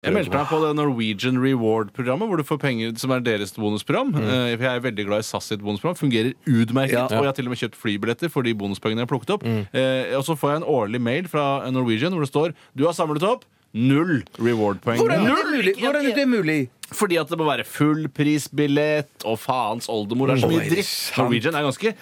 Jeg meldte meg på det Norwegian Reward-programmet, hvor du får penger som er deres bonusprogram. Eh, For jeg er veldig glad i SAS sitt bonusprogram. Fungerer utmerket. Mm. Ja. Mm. Og jeg har til og med kjøpt flybilletter for de bonuspengene jeg har plukket opp. Eh, og så får jeg en årlig mail fra eh, Norwegian hvor det står Du har samlet opp null reward-poeng. Hvordan er det Null! mulig? Hvordan er det mulig? Fordi at det må være fullprisbillett og faens oldemor. Det er så Oi, mye er det dritt. sant? Mm. Norwegian er ganske,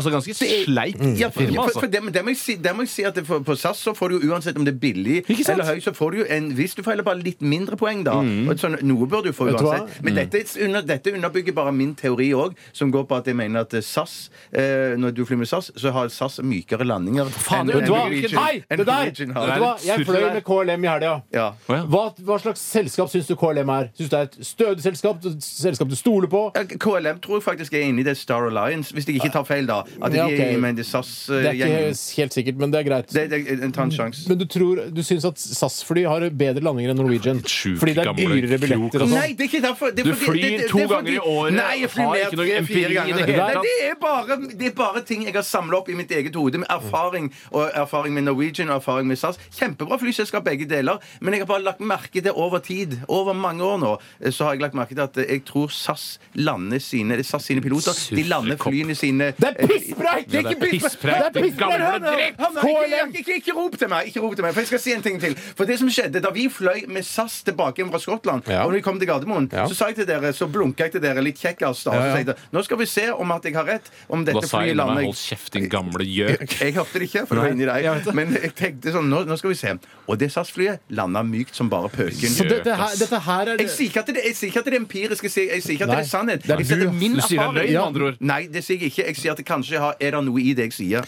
altså ganske sleipt Ja, for, firma, for, for altså. det, men det må jeg si, det må jeg si at det, for, på SAS så får du jo uansett om det er billig Ikke sant? eller høy, så får du jo en Hvis du feiler bare litt mindre poeng, da. og Sånn, noe bør du få Mm. Vet du hva? Mm. uansett. Men dette, er under, dette underbygger bare min teori òg, som går på at jeg mener at eh, SAS eh, Når du flyr med SAS, så har SAS mykere landinger faen, enn- vet Vet enn du hva? Norwegian- Hei! enn Det der! Norwegian har. Det er Vet du hva? litt Jeg surr fløy der. med KLM i helga. Ja. Å, ja. Hva, hva slags selskap syns du KLM er? Syns du det er et stødig selskap? Et selskap du stoler på? Ja, KLM tror jeg faktisk er inne i det Star Alliance, hvis jeg ikke tar feil, da. At de Ja, ok. er med i Det er ikke Mm. SAS-gjengen. helt sikkert, men det er greit. Det, det, en ta en sjanse. Men du tror, du syns at SAS-fly har bedre landinger enn Norwegian? Sjuke, Fordi det er gamle dyrere billetter og sånn? Nei, det er ikke derfor. Det er Du fordi- flyr det- det- to det er ganger i fordi- året, Nei, jeg flyr har mer ikke noe enn fire empiri i ganger. det hele Nei, tatt. det er bare, det er bare ting jeg har samla opp i mitt eget hode, med erfaring og erfaring med Norwegian og erfaring med SAS. Kjempebra flyselskap, begge deler, men jeg har bare lagt merke til over tid, over mange år nå, eh, så har jeg lagt merke til at jeg tror SAS lander sine det er SAS sine piloter. De lander Surrekopp. flyene sine eh, Det er pisspreik! Det er ikke pisspreik. Det er pisspreik! Gamle Hør nå! dritt! Hør nå, Ikke, KLM. ikke, ikke, ikke rop til meg, ikke rop til meg, for jeg skal si en ting til. For det som skjedde Da vi fløy med SAS tilbake fra Skottland, Ja. og når vi kom til Gardermoen, Ja. så sa jeg til dere, så blunka jeg til dere litt kjekkas da, og Ja, så ja. sa jeg til dere, nå skal vi se om at jeg har rett, om Da dette sa jeg flyet inni meg lander hold kjeft, din gamle gjøk. jeg hørte det ikke, for det var inni jeg vet deg. det. Men jeg tenkte sånn, nå, nå skal vi se. Og det SAS-flyet landa mykt som bare pøken. Så dette her, dette her er Jeg sier ikke at det, jeg sier ikke at det er empirisk, jeg sier, jeg sier ikke at det Nei, er sannhet. det er jeg sier at det du. er min Du sier det er erfaring. løgn, med andre ord. Nei, det sier jeg ikke. Jeg sier at det kanskje har, er det noe i det jeg sier.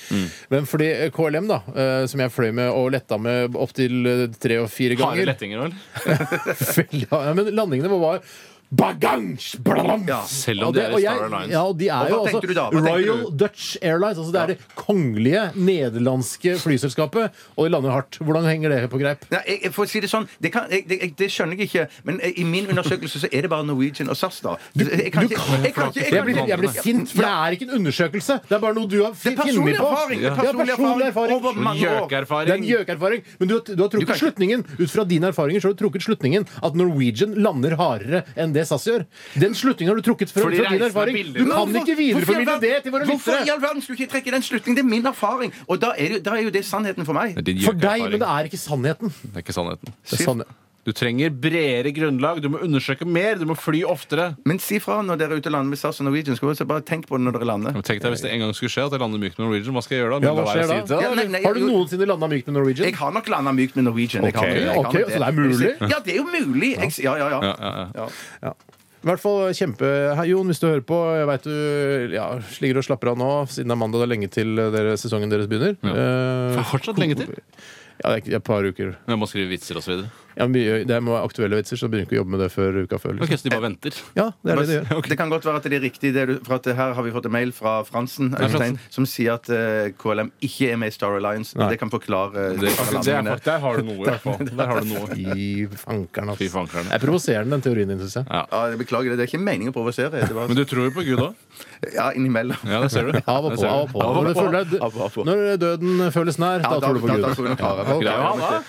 Men fordi eh, KLM, da, eh, som jeg fløy med og letta med opptil tre og fire Harde ganger lettinger, vel? Veldig- ja, Men landingene vår var Bagange! Blalam! Ja, selv om Og de er i og Star Alliance. Ja, og de Og er hva jo altså tenkte du da? Hva tenkte Royal du? Dutch Airlines. Altså Det er det kongelige nederlandske flyselskapet, og de lander hardt. Hvordan henger det på greip? Nei, jeg, jeg får si det sånn, det, kan, jeg, det, jeg- det skjønner jeg ikke, men eh, i min undersøkelse så er det bare Norwegian og SAS, da. Jeg kan du ikke- kan- jeg kan ikke- jeg Jeg kan blir, ikke- jeg blir sint, for det er ikke en undersøkelse. Det er bare noe du har Det er funnet personlig på. erfaring! Det Ja, er personlig personlig erfaring erfaring. over mange år. Det er en Gjøkerfaring. gjøkerfaring. Men du, har- du har trukket kan ikke- slutningen ut fra dine erfaringer så har du trukket slutningen at Norwegian lander hardere enn det SAS gjør. Den slutningen har du trukket fra, Fordi fra din reisen er erfaring. billigere. Du Men kan hvorfor- ikke hvorfor i all videreformidle verden- det til våre Hvorfor i lyttere. all verden skulle jeg ikke trekke den slutningen? Det er min erfaring! Og da er, det, jo- da er jo det sannheten for meg. Din For deg, gjøkerfaring. men det er ikke sannheten. Det er ikke sannheten. Det er sann- Du trenger bredere grunnlag, du må undersøke mer, du må fly oftere. Men si fra når dere er ute og lander med SAS og Norwegian. Skal vi også bare tenk på det når dere lander. Men Tenk deg hvis det en gang skulle skje at jeg lander mykt med Norwegian, hva skal jeg gjøre da? Ja, La hva være å skjer si da? det til deg, Ja, nei, eller? nei, Har du jo- noensinne landa mykt med Norwegian? Jeg har nok landa mykt med Norwegian. Jeg har Ok, nok det, jeg har ok, nok så det er mulig? Ja, det er jo mulig! Jeg, ja, ja, ja. Ja, ja, ja. ja. I hvert fall kjempe... Hei, Jon, hvis du hører på, jeg veit du ja, ligger og slapper av nå, siden det er mandag, det er lenge til eh, dere, sesongen deres begynner. Det Eh, er fortsatt lenge til. ja, det er ikke- det er et par uker. Men jeg må skrive vitser og så videre. Ja, mye, det må være aktuelle vitser, så begynner ikke å jobbe med det før uka før. Ok, Liksom. så de bare venter. Ja, det er det de gjør. Det kan godt være at det er riktig, det du, for at her har vi fått en mail fra Fransen Øystein, Fransen. som sier at eh, KLM ikke er med i Star Alliance. Nei. Det kan forklare eh, Det, forklare det er, landingene. fakt- der har du noe, i hvert fall. Der har du noe. Fy fankeren, Fy altså. fankeren. Det er provoserende, den teorien din, syns jeg. ja, jeg Beklager det. Det er ikke meningen å provosere. Det var, Men du tror jo på Gud òg? ja, innimellom. Ja, det ser du. Av og Det på. ser du. Av og på. Av og Når, du på. føler deg, Av og på. når døden føles nær, Ja, da tror du på da Gud. tror jeg nok Are. Ok. Ja, da.